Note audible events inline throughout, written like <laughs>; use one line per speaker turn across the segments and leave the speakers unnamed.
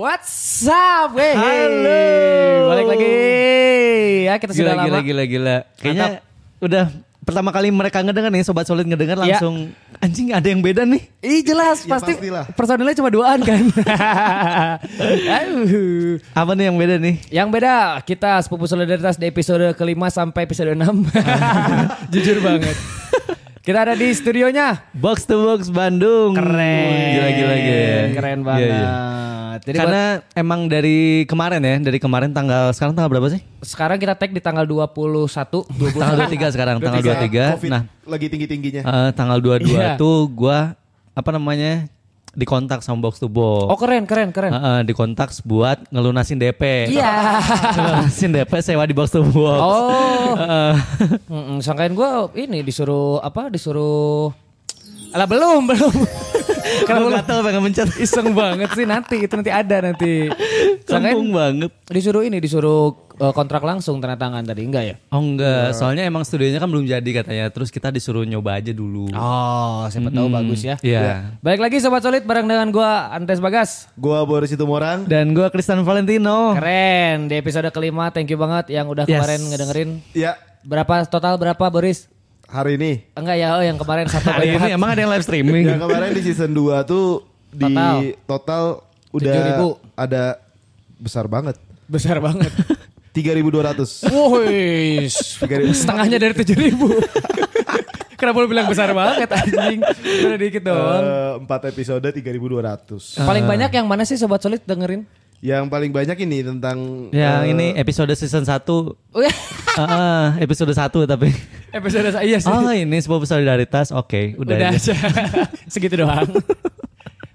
What's up? Wey.
Halo.
Balik lagi. Ya kita sudah
gila,
lama.
gila, gila, gila. Kayaknya udah pertama kali mereka ngedenger nih, sobat solid ngedenger
Iya.
langsung anjing ada yang beda nih.
Ih jelas
Ya,
pasti
pastilah.
personilnya cuma duaan
<laughs>
kan. Aduh.
Apa nih yang beda nih?
Yang beda kita sepupu solidaritas di episode kelima sampai episode
<laughs>
enam. Jujur banget. Kita ada di studionya.
Box to box Bandung.
Keren.
Gila gila gila.
Keren
Iya,
banget.
iya.
Jadi
Karena emang dari kemarin ya, dari kemarin tanggal sekarang tanggal berapa sih?
buat- sekarang kita tag di tanggal 21.
Tanggal 23 sekarang, tanggal 23.
COVID
Nah,
lagi tinggi-tingginya.
eh, tanggal 22
Iya.
tuh gua apa namanya? dikontak sama box to box.
Oh keren, keren, keren.
Heeh, dikontak buat ngelunasin DP.
Iya.
<laughs> ngelunasin DP sewa di box to box.
Oh.
Heeh.
Mm-mm, sangkain gue ini disuruh apa disuruh Alah belum belum
Kalau
Belum.
gatel pengen mencet.
iseng banget sih nanti itu nanti ada nanti
Kampung
sangkain
banget.
disuruh ini disuruh eh, kontrak langsung tanda tangan tadi enggak ya
Oh enggak, soalnya emang studionya kan belum jadi katanya. Terus kita disuruh nyoba aja dulu.
oh siapa tahu bagus ya
Iya.
balik lagi sobat solid bareng dengan gue Andres Bagas
Gua Boris Situmorang.
Dan gua Kristen
Oh.
Valentino.
keren di episode kelima thank you banget yang udah
Yes.
kemarin ngedengerin
Ya,
berapa total berapa Boris
hari ini.
enggak ya oh yang kemarin satu
Hari ini emang ada yang live streaming. <laughs>
Yang kemarin di season 2 tuh di
Total.
total udah
7.000.
ada besar banget.
besar <laughs> banget
<laughs>
3200.
Woi, setengahnya dari tujuh <laughs> ribu. Kenapa lu bilang besar banget anjing? Udah dikit
Gitu
dong.
4 Eh, episode 3200.
Paling banyak yang mana sih sobat solid dengerin?
Yang paling banyak ini tentang
Yang
eh,
Ya, ini episode season 1.
Oh ya, <laughs>
Heeh, episode 1 <laughs> tapi.
episode saya iya sih.
Oh ini sebuah solidaritas. Oke, udah.
udah
aja.
aja. <laughs> Segitu doang.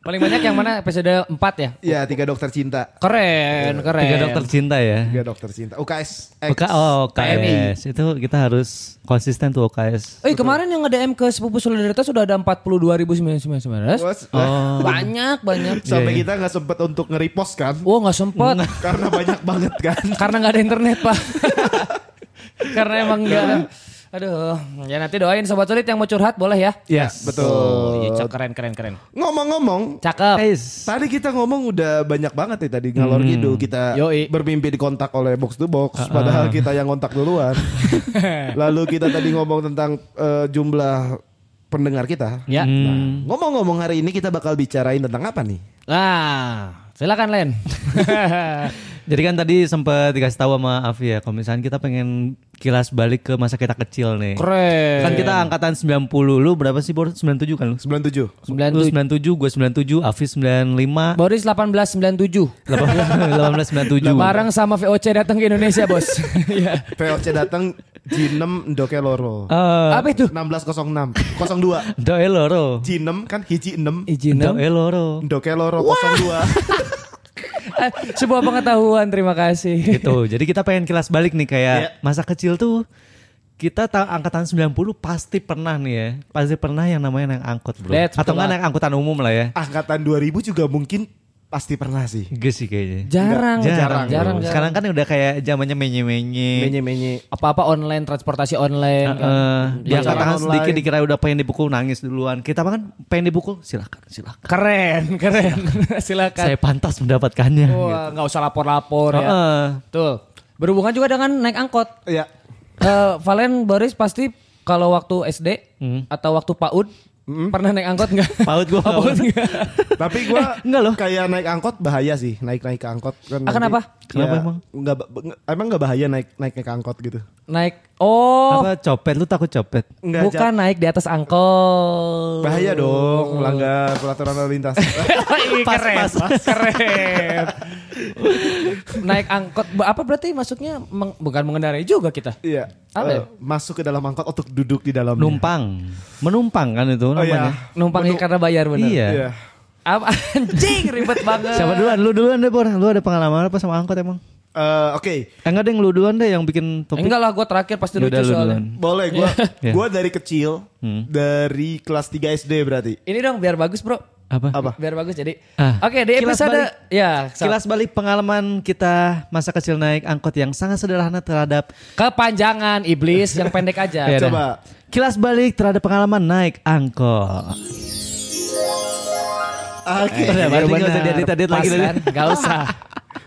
Paling banyak yang mana episode 4 ya?
ya tiga dokter cinta.
Keren, keren.
Tiga dokter cinta ya.
Tiga dokter cinta. UKS. X.
Oka, oh,
TMI.
OKS. Itu kita harus konsisten tuh OKS.
Eh kemarin yang nge-DM ke sepupu solidaritas sudah ada 42.999.
Was-
Oh, iya,
Oh. Banyak, banyak.
Eh, Sampai kita nggak sempet untuk nge-repost kan?
Uh.
Wah nggak sempet.
Karena banyak banget kan.
Karena nggak ada internet pak. Karena emang nggak. Aduh, ya nanti doain sobat sulit yang mau curhat boleh ya.
<laughs> Yes. Oh.
Betul.
Iya, cak keren keren keren.
Ngomong-ngomong,
Cakep.
Guys.
Tadi kita ngomong udah banyak banget nih tadi ngalor ngidul kita
Yoi.
bermimpi dikontak oleh box to box padahal kita yang kontak duluan. Lalu kita tadi ngomong tentang eh, jumlah pendengar kita.
Ya.
Nah, ngomong-ngomong hari ini kita bakal bicarain tentang apa nih?
Nah, silakan Len.
Jadi kan tadi sempat dikasih tahu sama Afi ya, kalau misalnya kita pengen kilas balik ke masa kita kecil nih.
<laughs> keren.
Kan kita angkatan 90, lu berapa sih Bor? 97 kan lu?
<laughs> 97.
Lu
97.
97, gue 97, Afi 95,
Boris 1897.
1897.
Bareng sama VOC datang ke Indonesia, Bos. <laughs> Iya.
VOC datang Jinem Ndoke Loro.
Eh,
Apa itu?
1606 02.
Doe loro.
Jinem kan hiji 6.
Izin dong.
Doe loro.
Ndoke Loro 02.
Eh, Sebuah pengetahuan, terima kasih.
Gitu. Jadi kita pengen kilas balik nih kayak
Iya.
masa kecil tuh kita ta- angkatan 90 pasti pernah nih ya. Pasti pernah yang namanya naik angkot, Bro.
That's
Atau enggak
betul.
naik angkutan umum lah ya.
Angkatan 2000 juga mungkin pasti pernah sih.
Gak sih kayaknya.
Jarang, jarang,
jarang,
jarang.
bro. Sekarang kan udah kayak zamannya menye-menye.
Menye-menye.
apa-apa online, transportasi online.
Eh,
kan.
dia
Pacaran
katakan
online.
sedikit dikira udah pengen dipukul nangis duluan. Kita mah kan pengen dipukul, silakan, silakan.
Keren, <laughs> keren. Silakan.
Saya pantas mendapatkannya. Gitu.
Wah, nggak usah lapor-lapor ya.
Heeh.
Tuh. Berhubungan juga dengan naik angkot.
Ya.
Eh, Valen Boris pasti kalau waktu SD atau waktu PAUD
Hmm.
pernah naik angkot
<laughs>
nggak?
Paut Hmm. gua nggak
Oh, <laughs> PAUD
pernah.
nggak.
Tapi gua
Eh, enggak loh.
Kayak naik angkot bahaya sih, naik-naik ke angkot kan.
Ah, kenapa?
Kenapa emang?
Enggak emang enggak bahaya naik naik naik angkot gitu.
naik. Oh,
Apa copet? Lu takut copet?
Enggak
bukan naik di atas angkot.
bahaya dong melanggar peraturan lalu
<laughs>
lintas.
<laughs> Ih,
Pas,
keren,
pas.
pas,
<laughs>
keren. naik angkot ba- apa berarti maksudnya meng- bukan mengendarai juga kita.
Iya.
Apa ya?
Eh, masuk ke dalam angkot untuk duduk di dalamnya.
Numpang. Menumpang kan itu
Oh
namanya.
iya.
Numpang karena bayar bener.
Iya.
Iya.
Apa <laughs> anjing ribet banget.
Siapa duluan? Lu duluan deh, Bor. Lu ada pengalaman apa sama angkot emang?
Eh, oke.
Eh, enggak deh, yang lu duluan deh yang bikin topik.
Enggak lah gue terakhir pasti
Yaudah,
lucu
lu
soalnya.
duluan.
Boleh
<laughs>
gua
Iya.
gua dari kecil
Hmm.
dari kelas 3 SD berarti.
Ini dong biar bagus bro.
Apa?
Apa?
Biar bagus jadi.
Ah.
Oke di
Kilas
episode.
balik.
Ya. so-
Kilas balik pengalaman kita masa kecil naik angkot yang sangat sederhana terhadap
Kepanjangan iblis yang pendek aja.
<laughs> Ya,
Coba.
dah. Kilas balik terhadap pengalaman naik angkot.
Oke.
Udah, berarti nggak usah diedit-edit lagi
Pas
tadi. <laughs>
kan? Gak usah.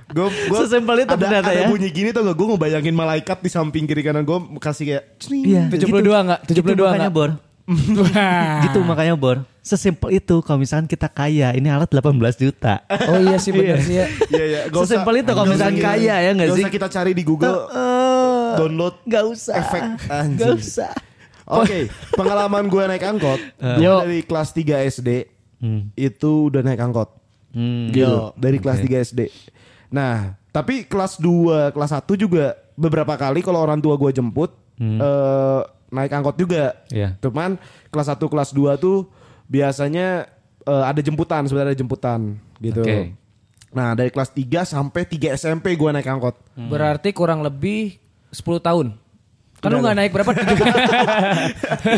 Gue gue
Sesimpel itu
ada,
ternyata
ada
ya.
bunyi gini tuh gue ngebayangin malaikat di samping kiri kanan gue kasih kayak cing.
72 enggak? 72
Iya, gitu makanya
enggak?
Bor.
Wah.
Gitu makanya Bor. Sesimpel itu kalau misalkan kita kaya, ini alat 18 juta.
Oh iya sih benar sih ya.
Iya iya. Gak usah-
Sesimpel itu kalau
gak usah
misalkan
kita-
kaya ya nggak
gak
sih?
usah kita cari di
<laughs>
Google
Heeh.
download.
Gak usah.
Efek. Anjing.
Gak usah. Oh.
Oke, pengalaman gue naik angkot
Eh.
gua
Yo.
dari kelas 3 SD itu udah naik angkot.
Hmm.
Gitu, dari kelas 3 SD. Nah, tapi kelas 2, kelas 1 juga beberapa kali kalau orang tua gue jemput eh, naik angkot juga.
Hmm. Iya.
Cuman kelas 1, kelas 2 tuh biasanya eh, ada jemputan, sebenarnya ada jemputan gitu.
Oke.
Nah, dari kelas 3 sampai 3 SMP gue naik angkot.
Berarti kurang lebih 10 tahun. Kan lu gak naik berapa? 70.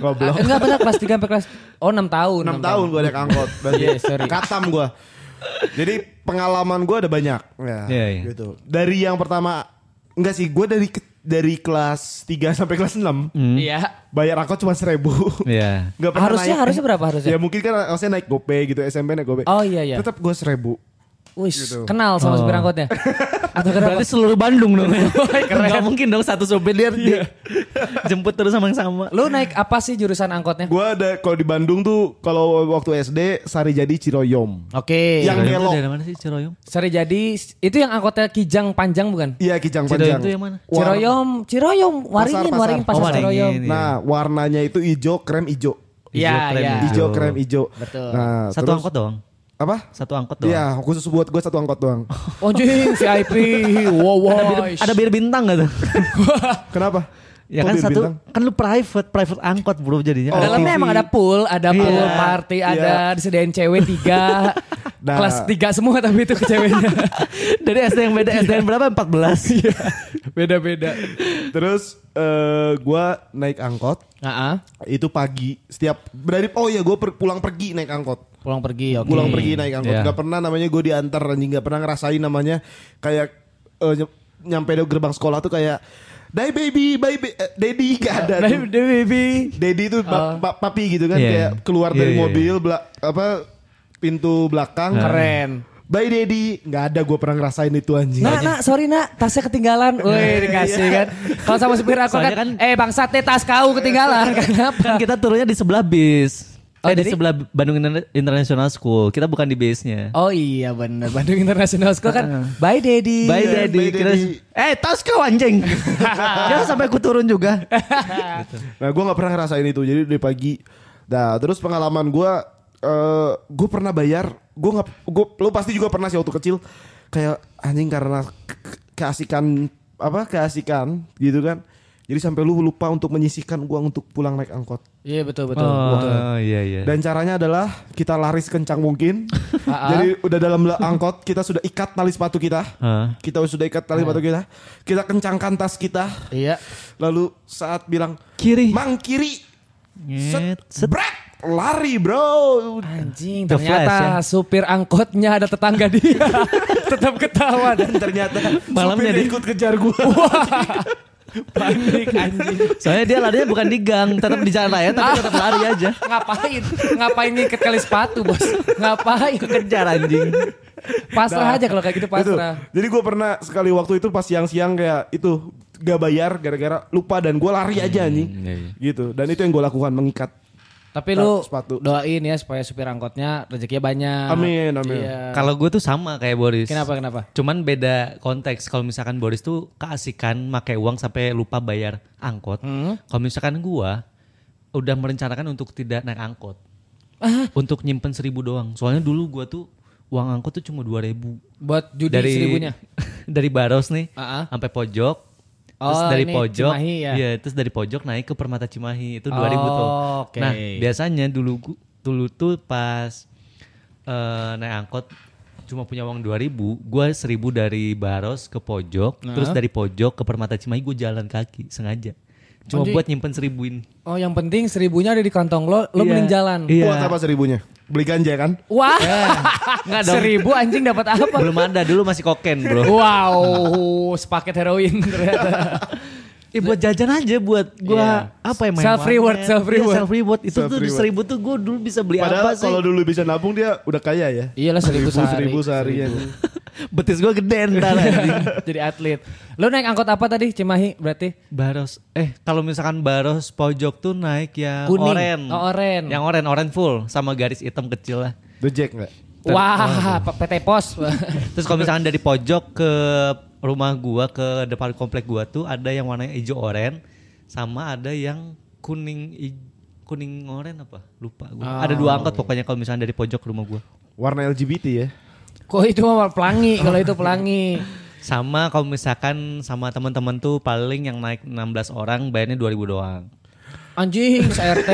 Goblok.
Enggak benar kelas 3 sampai kelas Oh 6 tahun.
6 tahun gue naik angkot
<laughs>
berarti
Iya, sorry.
katam gue jadi pengalaman gue ada banyak ya,
Iya, iya.
gitu dari yang pertama enggak sih gue dari ke- dari kelas 3 sampai kelas 6
Hmm.
Iya.
bayar angkot cuma seribu
Iya.
<laughs> Nggak pernah
Harusnya
naik-
harusnya berapa harusnya?
ya mungkin kan harusnya naik gopay gitu SMP naik gopay
Oh, iya, iya.
tetap gue seribu
Wih, kenal sama supir
<laughs>
angkotnya. Atau kenapa?
Oh. Berarti seluruh Bandung dong. Gak mungkin dong satu sopir dia dia jemput terus sama yang sama.
Lu naik apa sih jurusan angkotnya?
gue ada kalau di Bandung tuh kalau waktu SD Sari jadi Ciroyom
Oke.
Yang
Ciroyom tuh
belok.
Dari mana sih Ciroyom?
Sari jadi itu yang angkotnya Kijang panjang bukan?
iya Kijang
Ciroyom
Panjang
tuh yang mana?
War-
Ciroyom, Ciroyom, Waringin,
pasar.
Waringin pasar
Oh, Waringin.
Ciroyom.
Iya.
nah warnanya itu hijau krem hijau
Iya,
Hijau, gitu. krem,
iya.
hijau
Hijau.
krem hijau
Betul.
nah
Satu
terus-
angkot doang.
apa
Satu angkot doang.
Iya, khusus buat gue satu angkot <laughs> doang.
Oh jing, VIP. Wow,
<laughs> Ada bir,
wow.
ada bir bintang gak tuh?
Kenapa?
ya
Kok
kan
bir
satu
bintang?
kan lu private, private angkot bro jadinya.
Oh.
Ada
Dalamnya
TV.
emang ada pool, ada pool
Iya.
party,
Iya.
ada disediain cewek
<laughs>
tiga,
Nah.
kelas tiga semua tapi itu ke ceweknya
Dari SD yang beda SD yang berapa? 14. Iya.
<laughs> beda-beda.
Terus eh gue naik angkot
Nah, ah.
Heeh.
itu pagi setiap dari oh ya gue pulang pergi naik angkot
Pulang pergi, oke.
pulang pergi naik angkot
Iya.
nggak pernah namanya gue diantar anjing nggak pernah ngerasain namanya kayak eh, ny- nyampe di gerbang sekolah tuh kayak Dai baby, bye ba- eh, daddy gak
Nah,
ada tuh.
Baby, baby.
Daddy itu pa- pa- papi gitu kan
Oh. Iya.
kayak keluar
Iya,
dari
iya, iya. Nah.
mobil bela- apa pintu belakang
Keren.
Bye daddy, nggak ada gue pernah ngerasain itu anjing.
Nah.
Nak, nak, sorry nak, tasnya ketinggalan. Woi, dikasih kan. Kalau sama supir aku
iya. Soalnya
kan,
kan-
eh bangsa teh tas kau ketinggalan.
<laughs>
Kenapa?
Kan kita turunnya di sebelah bis.
Oh,
eh, di
jadi?
sebelah Bandung Inter- International School. Kita bukan di base-nya.
Oh iya bener, Bandung International School kan. Bye Daddy.
Bye
Iya,
daddy.
bye,
Kita-
daddy.
eh tas kau anjing. Jangan sampai aku turun juga.
Nah gue gak pernah ngerasain itu Jadi dari pagi Nah terus pengalaman gue eh Gue pernah bayar Gue gak gua, Lo pasti juga pernah sih waktu kecil Kayak anjing karena ke- ke- Keasikan Apa Keasikan gitu kan Jadi sampai lu lupa untuk menyisihkan uang untuk pulang naik angkot
Iya betul betul.
Oh iya iya.
Dan caranya adalah Kita lari sekencang
<laughs>
mungkin Jadi udah dalam le- angkot Kita sudah ikat tali sepatu kita
Ah.
Kita sudah ikat tali sepatu kita Kita kencangkan tas kita
Iya.
Lalu saat bilang
Kiri.
Mang kiri
Nyet,
Set,
set.
brek, lari bro.
Anjing,
The
ternyata
Flash, ya.
supir angkotnya ada tetangga dia. <laughs> Tetap ketawa dan
Ternyata
Malamnya
supirnya
dia-
ikut kejar
<laughs>
gue.
panik anjing.
Soalnya dia larinya bukan di gang, tetap di jalan raya tapi tetap lari aja.
Ngapain? Ngapain ngikat kali sepatu, Bos? Ngapain?
Kejar anjing.
Pasrah aja kalau kayak gitu
Nah, Itu.
pasrah.
Jadi gue pernah sekali waktu itu pas siang-siang kayak itu gak bayar gara-gara lupa dan gue lari aja anjing.
iya, iya.
Gitu. Dan itu yang gue lakukan mengikat.
Tapi lu
Nah, Sepatu.
doain ya supaya supir angkotnya rezekinya banyak.
Amin, amin.
Iya.
Kalau gue tuh sama kayak Boris.
Kenapa kenapa?
Cuman beda konteks. Kalau misalkan Boris tuh keasikan pakai uang sampai lupa bayar angkot. Kalau misalkan gua udah merencanakan untuk tidak naik angkot. Untuk nyimpen seribu doang. Soalnya dulu gua tuh uang angkot tuh cuma dua ribu.
Buat judi
dari
seribunya.
<laughs> dari Baros nih
Ah, ah.
sampai pojok terus
Oh,
dari
ini
pojok
Cimahi ya?
iya, terus dari pojok naik ke Permata Cimahi itu
Oh,
2000 tuh
oke.
nah biasanya dulu gu- dulu tuh pas eh, naik angkot cuma punya uang 2000 gue 1000 dari Baros ke pojok terus dari pojok ke Permata Cimahi gue jalan kaki sengaja cuma buat nyimpen seribuin
Oh, yang penting seribunya ada di kantong lo, lo
Iya.
mending jalan.
Iya.
Buat apa seribunya? Beli ganja kan?
Wah,
Nggak dong.
seribu anjing dapat
<laughs>
apa?
belum ada dulu masih koken bro
Wow, sepaket heroin ternyata.
<laughs> Ya buat jajan aja buat gua
Iya.
apa ya main
Self reward,
warnet.
self
Iya,
reward.
self reward itu tuh
Self-reward.
seribu tuh gua dulu bisa beli
Padahal
apa sih?
kalau dulu bisa nabung dia udah kaya ya.
Iyalah, seribu sehari.
Seribu sehari. ya. anjing.
Betis gue gede ntar anjing.
Jadi atlet. Lu naik angkot apa tadi Cimahi berarti?
<laughs> Baros, eh kalau misalkan baros pojok tuh naik ya
Kuning.
oren.
Oh, oren.
Yang oren, oren full sama garis hitam kecil lah.
Dojek nggak?
Wah, PT Pos. <laughs>
Terus kalau misalkan dari pojok ke rumah gua ke depan komplek gua tuh ada yang warnanya hijau oren sama ada yang kuning ij- kuning oren apa? Lupa gua. Ada dua angkot pokoknya kalau misalkan dari pojok ke rumah gua.
Warna LGBT ya.
Kok itu mah pelangi kalau itu pelangi.
Sama kalau misalkan sama teman-teman tuh paling yang naik 16 orang bayarnya 2000 doang.
Anjing, CRT.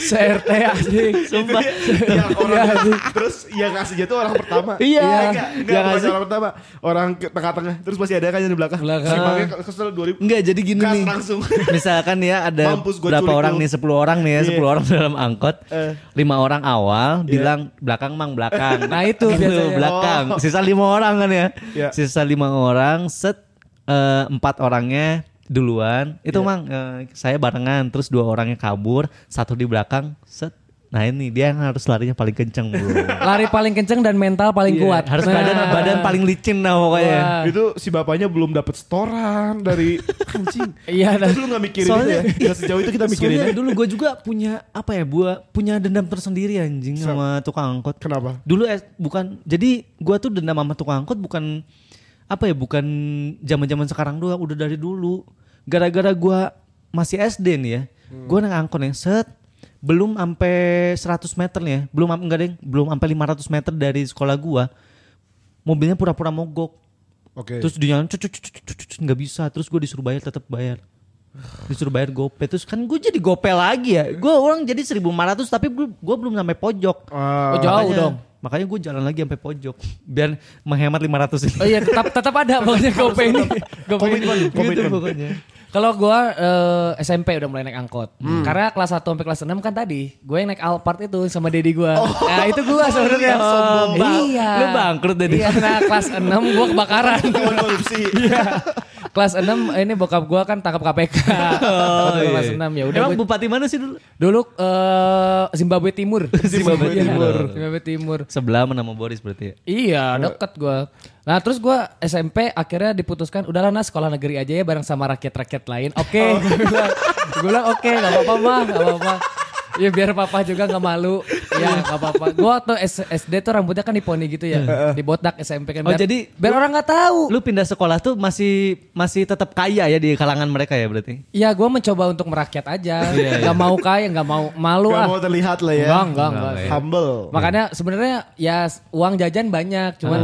CRT anjing.
<laughs>
Sumpah.
yang Iya, orang terus yang ngasih itu orang pertama.
Iya.
enggak, enggak,
Yang
bukan
ngasih.
orang pertama. Orang ke tengah-tengah. Terus masih ada kan yang di belakang.
Belakang.
Si Mangnya kesel 2000.
Enggak jadi gini
Gas
nih.
langsung.
<laughs> Misalkan ya ada
Mampus gua
berapa
culik
orang
lu. Iya.
nih 10 orang nih ya, 10 orang <laughs> dalam angkot.
Eh. Iya.
lima orang awal bilang belakang mang
<laughs>
belakang.
Nah, itu
Gitu,
biasanya.
belakang.
Oh.
Sisa lima orang kan ya.
Iya.
Sisa lima orang set eh, empat orangnya duluan. Itu
Iya.
mang eh, saya barengan terus dua orangnya kabur, satu di belakang set. Nah ini dia yang harus larinya paling kenceng
<laughs>
bro.
Lari paling kenceng dan mental paling kuat.
Iya, harus
Nah.
badan badan paling licin nah pokoknya.
Wah.
Itu si bapaknya belum dapat setoran dari anjing.
<laughs> Iya,
Kita
dah.
dulu gak mikirin
Soalnya-
itu ya. Gak sejauh itu kita mikirin
Soalnya
ya.
dulu gue juga punya apa ya, gue punya dendam tersendiri anjing sama tukang angkot.
Kenapa?
Dulu eh, bukan, jadi gue tuh dendam sama tukang angkot bukan apa ya, bukan zaman zaman sekarang doang, udah dari dulu. Gara-gara gue masih SD nih ya,
Hmm.
gue naik angkot yang set belum sampai 100 meter nih ya, belum am- enggak deh, belum sampai 500 meter dari sekolah gue, mobilnya pura-pura mogok.
Oke.
Terus dia nyalain, "Cut, cut, cut, cut, cut, cut," nggak bisa. Terus gue disuruh bayar tetap bayar. Disuruh bayar gope. Terus kan gue jadi gope lagi ya. Gue orang jadi 1500 tapi gue gue belum sampai pojok.
Eh,
Oh, jauh
Makanya-
dong.
Makanya gue jalan lagi sampai pojok biar menghemat 500
<laughs>
ini.
Oh iya, tetap tetap ada pokoknya GoPay ini. GoPay ini.
Komitmen, komitmen.
pokoknya.
Kalau gua eh, SMP udah mulai naik angkot.
Hmm.
Karena kelas 1 sampai kelas 6 kan tadi gue yang naik Alphard itu sama dedi gua.
Oh.
Nah, itu
<laughs>
gua sebenarnya.
yang sombong.
Bang-
iya.
lu bangkrut, Dedi.
Iya, nah kelas 6 gua
<laughs>
kebakaran.
Kawan korupsi.
kelas 6 ini bokap gua kan tangkap
<laughs>
KPK.
Oh,
Waktu
iya.
Kelas 6 ya udah
Emang
gua-
bupati mana sih dulu?
dulu eh, Zimbabwe Timur.
<laughs> Zimbabwe
Iya,
Timur.
Zimbabwe Timur.
Sebelah sama Boris berarti ya.
Iya deket gua Nah terus gua SMP akhirnya diputuskan udahlah nah sekolah negeri aja ya bareng sama rakyat-rakyat lain. Oke gue bilang, gua bilang, oke nggak apa-apa mah nggak apa-apa. Ya biar papa juga nggak malu. Ya nggak apa-apa. Gua waktu S- SD tuh rambutnya kan diponi gitu ya. Dibotak SMP kan.
Oh,
biar-
jadi
biar orang nggak tahu.
Lu pindah sekolah tuh masih masih tetap kaya ya di kalangan mereka ya berarti.
Ya gua mencoba untuk merakyat aja.
Iya, iya.
Gak mau kaya, nggak mau malu
Gak
ah.
mau terlihat lah ya.
Enggak, enggak, enggak.
Oh, iya.
Humble.
Makanya sebenarnya ya s- uang jajan banyak, cuman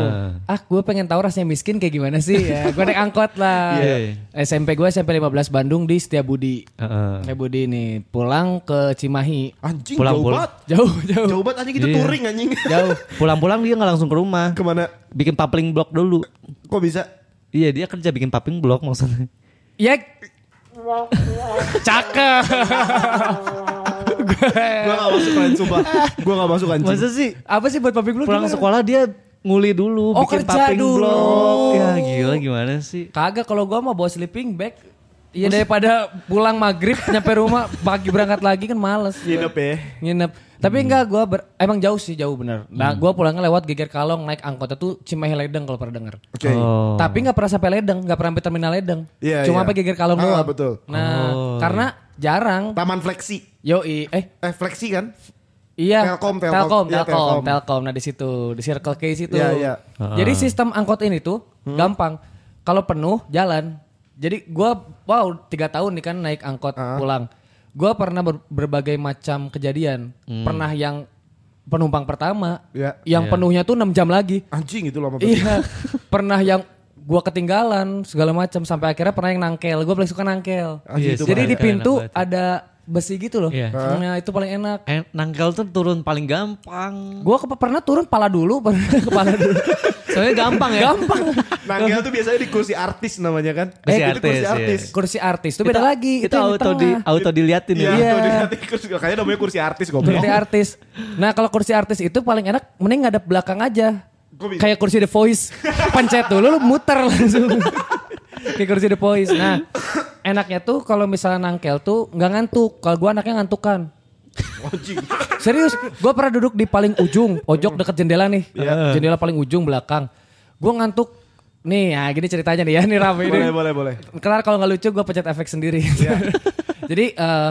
ah gue pengen tahu rasanya miskin kayak gimana sih? Ya, gue naik angkot lah.
Iya, <laughs> iya.
SMP gue SMP 15 Bandung di Setiabudi.
Heeh.
Setiabudi nih pulang ke Cimahi.
Anjing
Pulang,
jauh
pulang.
banget.
Jauh,
<laughs>
jauh,
Jauh banget anjing itu
Iya.
touring anjing.
jauh.
Pulang-pulang dia nggak langsung ke rumah.
<laughs> Kemana?
Bikin papling blok dulu.
Kok bisa?
Iya dia kerja bikin paping blok maksudnya.
Ya cakep. <laughs>
Gua gak masuk lain
<laughs>
sumpah. Gua gak masuk anjing.
Masa sih
Apa sih buat paping lu?
pulang
gimana?
sekolah dia nguli dulu
Oh,
bikin
kerja
paping
dulu.
blok. Ya gila gimana sih?
Kagak kalau gua mau bawa sleeping bag. Iya daripada pulang maghrib nyampe rumah pagi berangkat lagi kan males. gua.
Nginep ya.
nginep. Tapi
Hmm.
enggak gua ber- emang jauh sih jauh bener. Nah gua pulangnya lewat Geger Kalong naik angkot itu Cimahi Ledeng kalau pernah denger.
Oke.
Oh.
Tapi nggak pernah sampai Ledeng, nggak pernah sampai terminal Ledeng.
Iya,
Cuma
iya.
sampai Geger Kalong
Ah,
doang.
betul. Oh.
Nah karena jarang.
Taman fleksi.
Yoi, eh
Eh fleksi kan?
iya
Telkom, Telkom.
Telkom,
Iya,
Telkom,
Telkom.
Telkom. Nah di situ di Circle K situ.
Iya, iya.
Ah.
Hmm.
Jadi sistem angkot ini tuh gampang. Kalau penuh jalan. Jadi gua wow tiga tahun nih kan naik angkot
Ah.
pulang. Gua pernah ber- berbagai macam kejadian.
Hmm.
Pernah yang penumpang pertama,
Iya. Oh,
yang penuhnya tuh 6 jam lagi.
Anjing itu lama banget. <laughs>
Iya. pernah yang gua ketinggalan segala macam sampai akhirnya pernah yang nangkel. Gua paling suka nangkel.
Anjing
Iya,
itu
Jadi
bahaya.
di pintu
Enak banget.
ada besi gitu loh.
Iya.
Nah, itu paling enak.
Eh, nangkel tuh turun paling gampang.
Gua ke- pernah turun pala dulu, <laughs> pernah kepala dulu.
Soalnya gampang ya.
Gampang.
Nangkel tuh biasanya di kursi artis namanya kan?
Kursi
itu
artis,
kursi
iya.
artis.
Kursi artis itu beda lagi.
Itu,
yang
auto di, <laughs>
tengah.
auto diliatin
Iya,
ya.
Iya.
tuh di artis. kursi- Kayaknya namanya kursi artis goblok.
Kursi artis. Nah kalau kursi artis itu paling enak mending ngadep belakang aja.
Gua bisa.
Kayak kursi The Voice. Pencet dulu lu muter langsung.
<laughs>
Kayak kursi The Voice. Nah enaknya tuh kalau misalnya nangkel tuh nggak ngantuk. Kalau gua anaknya ngantukan.
<laughs>
Anjing. Iya.
Serius, gua pernah duduk di paling ujung, pojok deket jendela nih. Jendela paling ujung belakang. Gue ngantuk. Nih, ya gini ceritanya nih ya, nih rame ini.
Boleh, boleh, boleh.
Kelar kalau nggak lucu gue pencet efek sendiri.
Iya.
<laughs> Jadi eh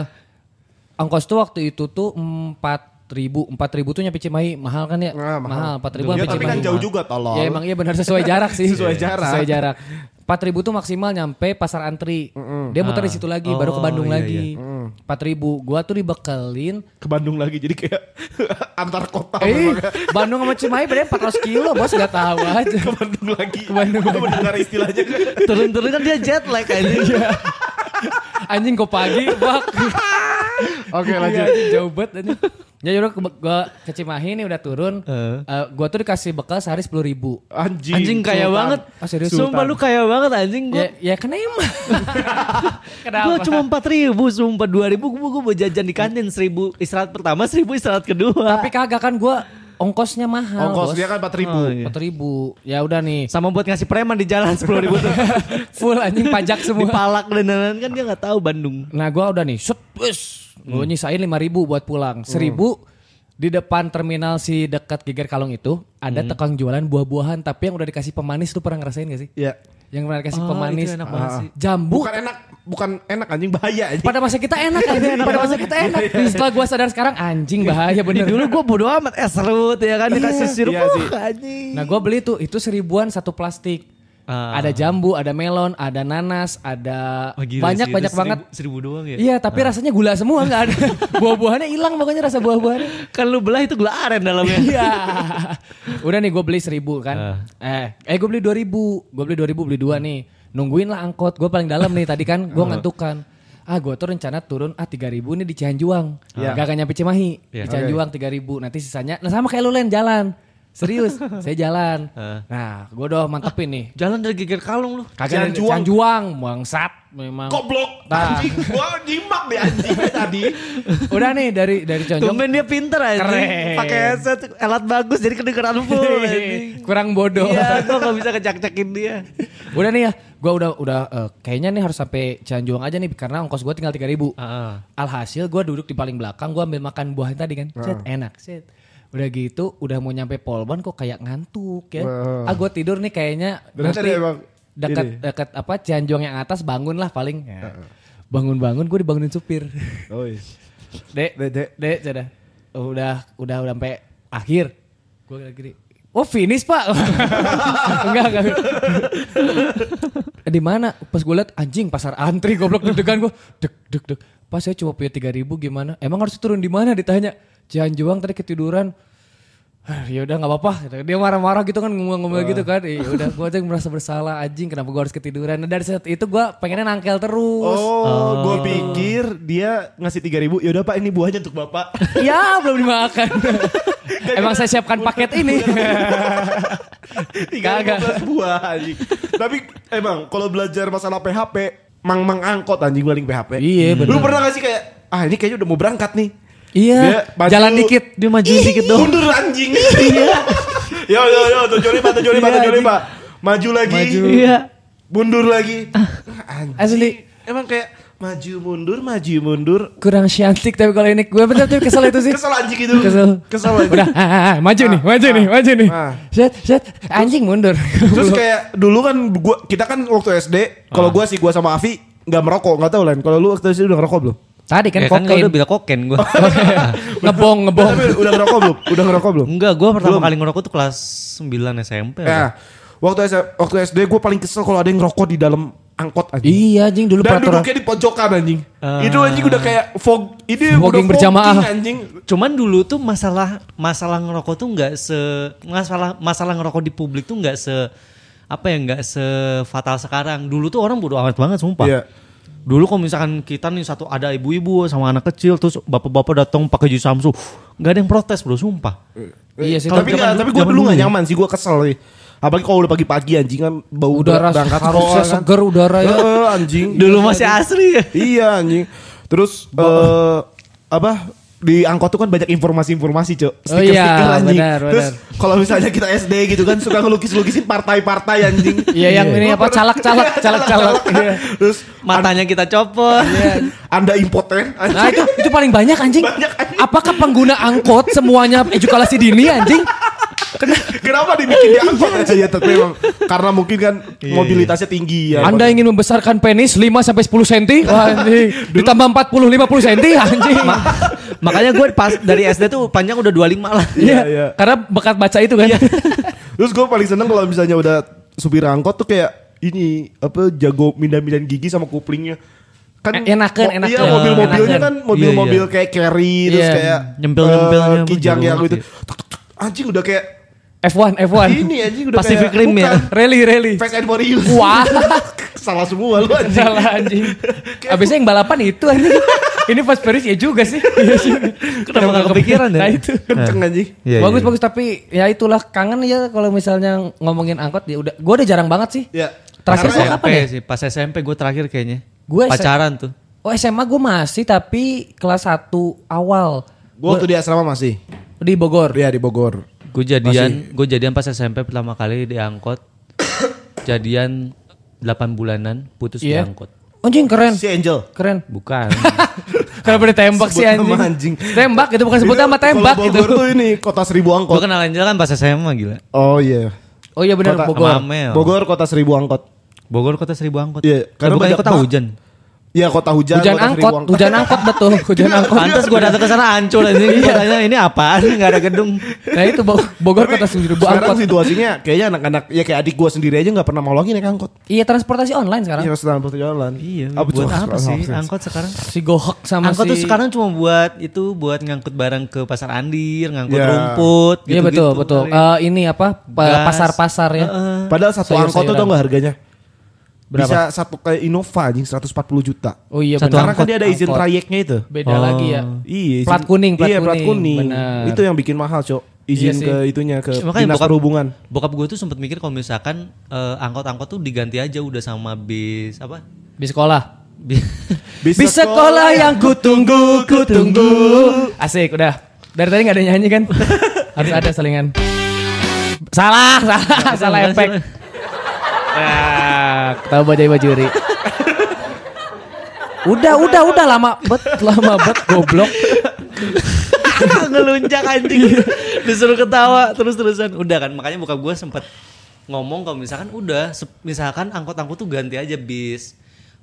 ongkos tuh waktu itu tuh empat ribu, empat ribu tuh nyampe Cimahi mahal kan ya? mahal.
Ah, mahal.
empat ribu
Ya,
nyampe
tapi kan
Cimahi.
jauh juga tolong.
Ya emang iya benar sesuai jarak sih.
<laughs>
Iya,
Sesuai jarak.
Sesuai jarak. 4000 tuh maksimal nyampe pasar antri. Dia muter di situ lagi, baru ke
Oh,
Bandung
iya,
lagi. 4000. Gua tuh dibekelin.
<laughs> Ke Bandung lagi jadi kayak <laughs> antar kota
Eh,
memang. kan.
Bandung sama Cimahi beda 400 kilo, Bos nggak tahu aja.
Ke Bandung lagi. Ke
Bandung lagi.
<laughs> Mendengar istilahnya.
Turun-turun kan dia jet lag
<laughs>
aja.
Iya. Anjing kok pagi, bak.
<laughs> Oke,
Iya, anjing, jauh banget anjing. Ya udah ke- gua ke Cimahi nih udah turun.
Eh.
Eh, gua tuh dikasih bekal sehari 10 ribu.
Anjing.
Anjing kaya
Sultan.
banget.
Ah, serius? Sultan.
Sumpah lu kaya banget anjing gue.
Ya, ya kan emang. Kenapa?
Gue cuma empat ribu, sumpah dua ribu gue mau jajan di kantin seribu istirahat pertama, seribu istirahat kedua.
Tapi kagak kan gua ongkosnya mahal,
Ongkos
Bos.
dia kan 4000.
Oh, iya.
4000. Ya udah
<laughs>
nih.
sama buat ngasih preman di jalan sepuluh ribu
<laughs>
tuh
full anjing pajak semua.
dipalak dan lain-lain kan dia nggak tahu Bandung.
Nah gue udah nih, shoot, wes,
Hmm.
gue nyisain lima ribu buat pulang. Seribu di depan terminal si dekat Geger Kalong itu ada
Hmm.
tukang jualan buah-buahan tapi yang udah dikasih pemanis tuh pernah ngerasain gak sih?
Iya.
Yang pernah dikasih
Oh,
pemanis, Ah.
itu enak banget sih.
jambu.
Bukan enak, bukan enak anjing bahaya anjing.
Pada masa kita enak aja, pada masa kita
<laughs>
enak. Setelah gue sadar sekarang anjing bahaya
Di
bener.
dulu gue bodo amat es serut ya kan dikasih sirup
Iya sih.
wah, anjing.
Nah gue beli tuh, itu seribuan satu plastik.
Ah.
Ada jambu, ada melon, ada nanas, ada
Wah, oh, gila
banyak
sih, itu
banyak
seribu-
banget.
Seribu doang ya.
Iya, tapi rasanya gula semua nggak
<laughs>
ada. Buah-buahannya hilang pokoknya rasa buah-buahannya.
Kan lu belah itu gula aren dalamnya.
Iya. <laughs> Udah nih gue beli seribu kan.
Ah.
Eh, eh gue beli dua ribu. Gue beli dua ribu beli dua nih. Nungguin lah angkot. Gue paling dalam nih tadi kan gue ngantukan. Ah gue tuh rencana turun ah tiga ribu nih di Cianjuang.
Iya.
Gak akan nyampe Cimahi. Di
Iya.
Cianjuang tiga ribu. Nanti sisanya. Nah sama kayak lu Len jalan.
<laughs>
Serius, saya jalan.
Heeh.
Nah, gue udah mantepin nih.
Jalan dari geger kalung lu.
Kagak
Cianjuang.
Cianjuang, Cianjuang bangsat memang.
Goblok
Nah.
anjing. Gua nyimak deh anjingnya tadi.
Udah nih dari dari Cianjuang
Tumben dia pinter anjing.
Keren.
Pakai headset alat bagus jadi kedengeran full anjing.
kurang bodoh.
Iya, gue gak bisa kecak-cakin dia.
Udah nih ya, gua udah udah eh, kayaknya nih harus sampai Cianjuang aja nih karena ongkos gua tinggal 3000. Alhasil gua duduk di paling belakang, gua ambil makan buah tadi kan. Set, enak, set. Udah gitu, udah mau nyampe Polban kok kayak ngantuk ya.
Heeh.
Ah, gua tidur nih kayaknya nanti
Ternyata dia emang
dekat
ini.
dekat apa Cianjuang yang atas bangun lah paling. Bangun-bangun gue dibangunin supir.
Oh, iya.
Dek,
Dek, dek.
dek, dek, cedah. Oh, Udah, udah, udah sampai akhir. Gue kira kiri. Oh finish pak? <laughs> enggak, enggak. Eh, Di mana? Pas gue liat anjing pasar antri goblok deg-degan gue. Deg, deg, deg. Pas saya cuma punya 3000 gimana? Emang harus turun di mana ditanya? Cianjuang tadi ketiduran. "Hah, Ya udah nggak apa-apa. Dia marah-marah gitu kan ngomel-ngomel gitu kan. Ya udah gue aja merasa bersalah anjing kenapa gue harus ketiduran. Nah, dari saat itu gue pengennya nangkel terus.
Oh, gua pikir dia ngasih 3000. Ya udah Pak, ini buahnya untuk Bapak.
Ya belum dimakan.
<laughs>
Emang saya siapkan paket ini.
Tiga
<laughs> Kagak.
buah anjing. Tapi emang kalau belajar masalah PHP, mang mang angkot anjing paling PHP.
Iya,
Lu pernah gak sih kayak ah ini kayaknya udah mau berangkat nih. Dia
Iya.
maju-
Jalan dikit.
Dia maju dikit dong.
Mundur anjing. Iya. <laughs> yo yo yo 75 75
Iya,
75. Maju lagi.
Maju.
Iya.
Mundur lagi. Ah, Anjing.
Ah, Asli.
Emang kayak maju mundur maju mundur.
Kurang cantik tapi kalau ini gue bener tuh kesel itu sih.
Kesel anjing itu.
Kesel.
Kesel anjing.
Udah, ah, ah, ah, maju nih, maju nih, maju nih.
ah.
Set, set, anjing mundur.
Terus kayak dulu kan gua kita kan waktu SD, kalau
Ah.
gua sih gua sama Avi nggak merokok, nggak tahu lain. Kalau lu waktu SD udah ngerokok belum?
Tadi kan
Kan ya, kan
kokain.
gua udah bilang koken <laughs> gue.
ngebong, ngebong.
Tapi udah ngerokok belum? Udah ngerokok belum?
Enggak, gue pertama kali ngerokok tuh kelas 9 SMP.
Ya. Waktu SD, waktu SD gue paling kesel kalau ada yang ngerokok di dalam angkot anjing.
Iya anjing dulu
Dan
peraturan. Ah.
duduknya di pojokan anjing. Itu anjing udah kayak fog, ini
Fogging
udah fogging
berjamaah.
anjing.
Cuman dulu tuh masalah masalah ngerokok tuh nggak se masalah masalah ngerokok di publik tuh nggak se apa ya nggak se fatal sekarang. Dulu tuh orang bodo amat banget sumpah.
Iya.
Dulu kalau misalkan kita nih satu ada ibu-ibu sama anak kecil terus bapak-bapak datang pakai jus samsu, nggak ada yang protes bro sumpah.
Iya sih,
tapi
tapi
nggak-
zaman
tapi
dulu-
gue
zaman
dulu
dulu
gak
ya.
nyaman sih, gue kesel nih. Apalagi kalau udah pagi-pagi anjing kan bau
udara
berangkat
harusnya
sekolah kan.
seger udara ya.
Heeh, anjing.
Dulu masih
iya.
asri ya.
iya anjing. Terus eh apa di angkot tuh kan banyak informasi-informasi, Cok.
Oh iya, benar,
Terus
benar.
kalau misalnya kita SD gitu kan suka ngelukis-lukisin partai-partai anjing.
Iya yang ini apa
Gua pernah-
calak-calak,
Iya,
calak-calak. Iya.
Terus
Matanya kita copot.
Anda impoten anjing.
Nah itu itu paling banyak anjing.
Banyak, anjing.
Apakah pengguna angkot semuanya edukasi dini anjing?
<laughs> Kenapa dibikin diangkut
Iya.
aja ya tapi memang karena mungkin kan mobilitasnya tinggi ya.
Anda ingin membesarkan penis 5 sampai 10 cm? Wah, anjing. <laughs> Ditambah 40 50 cm anjing.
<laughs> Makanya gue pas dari SD tuh panjang udah 25 lah.
Iya,
iya.
karena bekat baca itu kan. <laughs>
Terus gue paling seneng kalau misalnya udah supir angkot tuh kayak ini apa jago mindah-mindahin gigi sama kuplingnya. Kan
E- enakan,
mo- Iya,
enakan.
mobil-mobilnya
Enakan.
kan mobil-mobil
Iya,
kayak carry terus
Iya.
kayak
Nyempil-nyempilnya
eh,
apa
kijang
jago
yang
banget
gitu.
ya.
Tuk, tuk, tuk, Anjing udah kayak
F1, F1.
Nah, ini anjing udah
Pacific
kayak
Rim ya?
bukan,
Rally, rally.
Fast and Furious.
Wah.
<laughs> Salah semua lu anjing.
Salah anjing. Abisnya yang balapan itu anjing. Ini Fast Paris ya juga sih. Iya sih.
Kenapa gak kepikiran ya?
Nah itu.
Kenceng anjing.
Iya,
bagus bagus tapi ya itulah kangen ya kalau misalnya ngomongin angkot ya udah gue udah jarang banget sih.
Ya.
Terakhir
Karena
gua
ya-
kapan
SMP
ya?
sih, pas SMP gue terakhir kayaknya.
Gua S-
pacaran tuh.
Oh SMA gue masih tapi kelas 1 awal
Gue waktu di asrama masih.
di Bogor.
Dia di Bogor.
Gue jadian, gue jadian pas SMP pertama kali di angkot. jadian 8 bulanan, putus
Iya.
di angkot.
Anjing keren.
Kan Si Angel.
Keren.
Bukan.
Kenapa ditembak
Sebut
sih anjing?
nama anjing.
Tembak itu bukan sebut
Itu
nama tembak gitu.
kalau
itu.
Bogor tuh ini kota seribu
gue
angkot.
kenal Angel kan pas SMA gila.
Oh iya.
Oh iya benar
Kota-
Sama
Bogor.
Amel.
Bogor kota seribu angkot.
Bogor kota seribu angkot.
Iya,
karena
karena
bukan
banyak
kota
bak-
hujan.
Iya kota hujan.
Hujan
kota seribu
angkot, hujan angkot betul, hujan angkot.
Pantas gue datang ke sana hancur aja. Gue tanya ini apaan? Gak ada gedung.
Nah itu Bo- Bogor kota sendiri Bu angkot.
Sekarang situasinya kayaknya anak-anak ya kayak adik gua sendiri aja nggak pernah mau lagi naik angkot.
Iya transportasi online sekarang.
Iya, sedang perjalanan.
Iya. buat
coba-
apa
Ah.
sih
coba-
angkot sekarang?
Si Gohok sama si
Angkot tuh sekarang cuma buat itu buat ngangkut barang ke pasar Andir, ngangkut
Iya.
rumput.
Iya
gitu-gitu. ya.
betul betul. Eh, ini apa pa-
Gas.
pasar-pasar ya.
Heeh.
Padahal satu
Sayur-sayuran.
angkot tuh tau nggak harganya?
Berapa?
Bisa satu kayak Innova anjing 140 juta.
Oh iya
Satu
benar.
Karena kan dia ada izin
Angkot.
trayeknya itu.
Beda
Oh.
lagi ya.
Iya, izin-
Plat kuning, plat
iya, plat
kuning.
kuning.
Benar.
Itu yang bikin mahal, Cok. Izin
Iya sih.
ke itunya ke
Makanya
dinas
bokap-
perhubungan.
Bokap gue tuh sempat mikir kalau misalkan eh, angkot-angkot tuh diganti aja udah sama bis apa?
Di sekolah.
Bis,
Bisa sekolah ya. yang kutunggu, kutunggu. Asik, udah. Dari tadi gak ada nyanyi <laughs> kan? Harus ada selingan. Salah, salah, salah efek. Ah, Tahu bajai bajuri. Udah, udah, udah lama bet, lama bet goblok.
<laughs> ngelunjak anjing disuruh ketawa terus-terusan Iya. udah kan makanya bokap gue sempat ngomong kalau misalkan udah se- misalkan angkot-angkot tuh ganti aja bis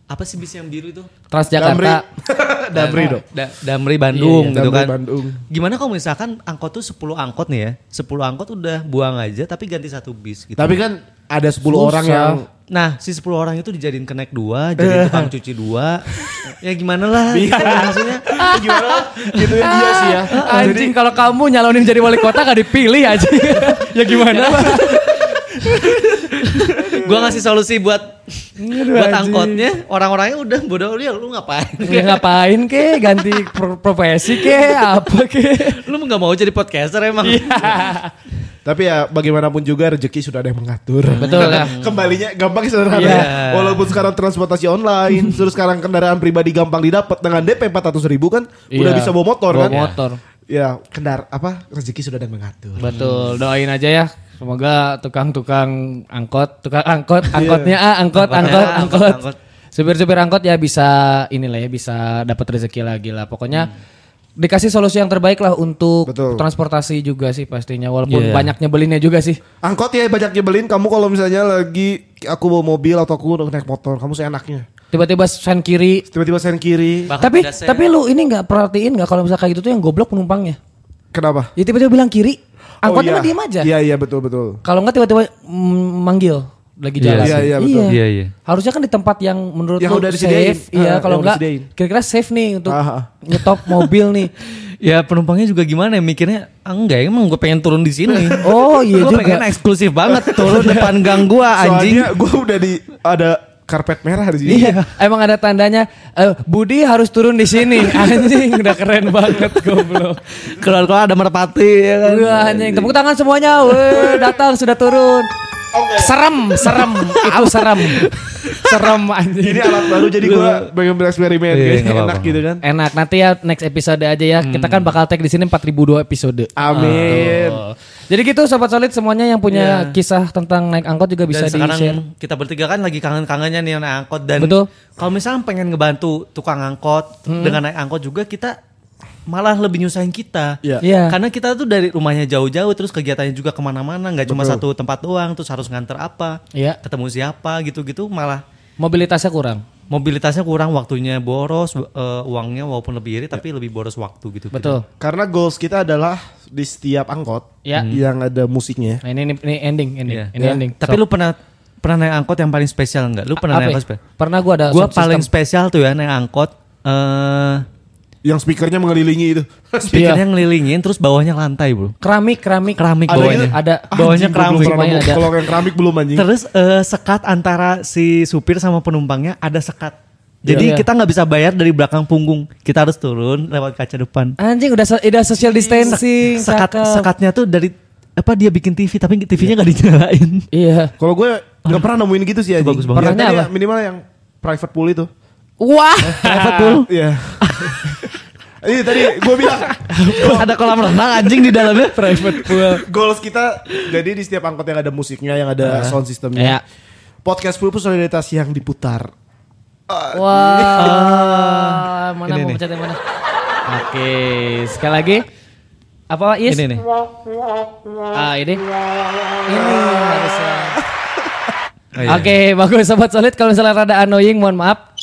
apa sih bis yang biru itu
Transjakarta. Nah,
Damri dong.
Da- Damri Bandung
Iya,
gitu
Damri
kan
Bandung.
gimana kalau misalkan angkot tuh 10 angkot nih ya 10 angkot udah buang aja tapi ganti satu bis gitu
Tapi kan ada 10
Susah.
orang yang
Nah, si 10 orang itu dijadiin kenek
<laughs>
dua, jadi tukang cuci dua. ya gimana lah,
Iya.
gitu maksudnya.
<laughs> gimana gitu ya dia sih ya.
Anjing kalau kamu nyalonin jadi wali kota gak dipilih aja. ya gimana?
Gua ngasih solusi buat buat
anjing.
angkotnya, orang-orangnya udah bodoh lu ya, lu ngapain?
Ya, ngapain ke ganti pro- profesi ke apa ke?
lu nggak mau jadi podcaster emang?
Iya.
Tapi ya bagaimanapun juga rezeki sudah ada yang mengatur.
Betul ya. lah.
<laughs> Kembalinya gampang sederhana.
Iya.
ya. Walaupun sekarang transportasi
<laughs>
online, terus sekarang kendaraan pribadi gampang didapat dengan DP 400 ribu kan udah
Iya.
bisa bawa motor
Bawa
kan.
motor.
Ya, kendar apa rezeki sudah ada yang mengatur.
Betul, doain aja ya. Semoga tukang-tukang angkot, tukang angkot,
Iya.
angkotnya ah, angkot,
Angkotnya,
angkot, angkot.
angkot.
Supir-supir angkot ya bisa inilah ya bisa dapat rezeki lagi lah. Pokoknya dikasih solusi yang terbaik lah untuk
Hmm. Betul.
transportasi juga sih pastinya walaupun
Iya.
banyak nyebelinnya juga sih.
Angkot ya banyak nyebelin kamu kalau misalnya lagi aku bawa mobil atau aku naik motor, kamu seenaknya.
Tiba-tiba sen kiri.
Tiba-tiba sen kiri.
Bahkan
tapi
ada saya-
tapi lu ini nggak perhatiin nggak kalau misalnya kayak gitu tuh yang goblok penumpangnya.
Kenapa?
Ya tiba-tiba bilang kiri, angkotnya
Oh,
mah diem aja.
Iya, iya betul betul.
Kalau nggak tiba-tiba mm, manggil lagi jalan.
Iya, iya, betul.
Iya, iya.
Harusnya kan di tempat yang menurut
Yang
lu
udah disediain.
safe. Iya,
Ah,
kalau
yang udah
nggak
disediain.
kira-kira safe nih untuk
Ah,
nyetop mobil
<laughs>
nih.
Ya penumpangnya juga gimana ya mikirnya "Ah, enggak emang gue pengen turun di sini.
<laughs> Oh, iya juga.
Gue
Iya.
pengen eksklusif banget turun depan gang gua anjing.
Soalnya gue udah di ada karpet merah di sini.
Iya, emang ada tandanya eh, Budi harus turun di
<laughs>
sini. Anjing, udah keren banget goblok.
<laughs>
Iya.
Keluar-keluar ada merpati ya kan.
Wah, anjing, tepuk tangan semuanya. Weh, datang sudah turun. Serem, serem, aku
<laughs>
serem. Serem anjing.
Ini alat baru jadi gue pengen
Iya,
bereksperimen kayaknya
nggak apa-apa.
enak gitu kan.
Enak, nanti ya next episode aja ya. Kita
Hmm.
kan bakal tag di sini 4002 episode.
Ah. Amin.
Jadi gitu sobat solid semuanya yang
Iya.
punya kisah tentang naik angkot juga bisa
dan
di
sekarang
share.
kita bertiga kan lagi kangen-kangennya nih naik angkot dan
Betul. Hmm.
kalau misalnya pengen ngebantu tukang angkot dengan naik angkot juga kita malah lebih nyusahin kita.
Iya.
Iya.
Karena kita tuh dari rumahnya jauh-jauh, terus kegiatannya juga kemana-mana, nggak cuma satu tempat doang, terus harus nganter apa,
Iya.
ketemu siapa, gitu-gitu, malah
Mobilitasnya kurang.
Iya. mobilitasnya kurang, waktunya boros, eh, uangnya walaupun lebih irit, tapi lebih boros waktu gitu.
Betul.
Karena goals kita adalah di setiap angkot
Ya.
yang ada musiknya.
Nah, ini, ini ini ending ini
Hmm. Iya.
ini ending.
Tapi lu pernah pernah naik angkot yang paling spesial nggak? Lu pernah naik angkot spesial?
ya? Pernah gua ada
Gue
sound
paling
system.
spesial tuh ya naik angkot. eh
Yang speakernya mengelilingi itu. <laughs>
speakernya ngelilingin terus bawahnya lantai
Iya.
bro.
keramik keramik
Keramik
ada
bawahnya.
ada
Bawahnya
Anjing, gua belum
keramik.
pernah
Semuanya
nemu.
ada.
Kalau yang keramik belum anjing.
Terus eh, sekat antara si supir sama penumpangnya ada sekat.
Iya.
Jadi kita nggak bisa bayar dari belakang punggung. Kita harus turun lewat kaca depan.
anjing udah so- udah social distancing
Iya. Sekat
cakep.
sekatnya tuh dari apa dia bikin TV tapi TV-nya nggak <laughs> dinyalain.
Iya.
Kalau gue nggak pernah nemuin gitu sih anjing.
bagus banget.
Yang
Pernahnya
tadi
apa?
yang Minimal yang private pool itu.
Wah.
Iya. <laughs> Iya tadi gue bilang
<laughs> ada kolam renang anjing di dalamnya.
Private pool.
goals kita jadi di setiap angkot yang ada musiknya, yang ada sound
Iya.
systemnya. Podcast Pulpus solidaritas yang diputar.
Wah. mana
Ah. Ini
mau
nih.
pencet yang mana? Oke, sekali lagi. Apa Is?
Ini nih.
Ah, ini. Ini harusnya.
Oh, iya.
Oke, bagus sobat solid kalau misalnya rada annoying mohon maaf.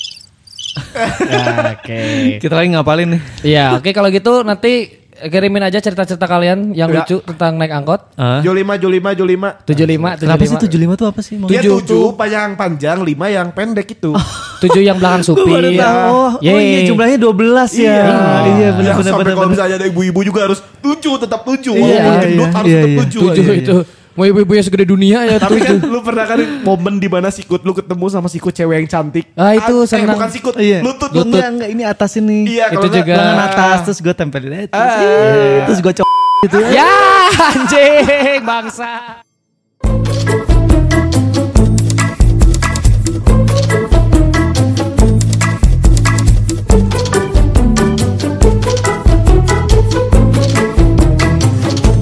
Ya, Oke.
Ah, Kita lagi ngapalin nih.
Iya, oke kalau gitu nanti kirimin aja cerita-cerita kalian yang lucu tentang naik angkot.
Ah.
Jolima, Jolima, Jolima.
75
Kenapa sih
75.
75 tuh apa sih? Iya,
Dia
Tujuh.
tujuh Oh, panjang panjang, lima yang pendek itu.
7 yang
<laughs>
belakang supir.
Oh, oh
Yeay.
iya jumlahnya 12 ya. Iya benar benar
yang
benar.
sampai kalau
benar.
misalnya ada ibu-ibu juga harus tujuh, tetap tujuh.
Iya,
Walaupun gendut
iya,
harus
iya,
tetap
iya.
tujuh.
Tujuh
Iya, iya.
itu. Mau ibu-ibu yang segede dunia ya
Tapi kan
tujuh.
lu pernah kan momen di mana sikut lu ketemu sama sikut cewek yang cantik.
Ah, itu
eh,
senang.
bukan sikut,
Iya.
lutut.
Enggak, enggak, ini atas ini.
Iya, kalau
Itu
enggak- Ah.
juga.
Lengan atas terus gue tempelin aja. Terus, Iya, terus gue cok gitu.
Ya anjing bangsa.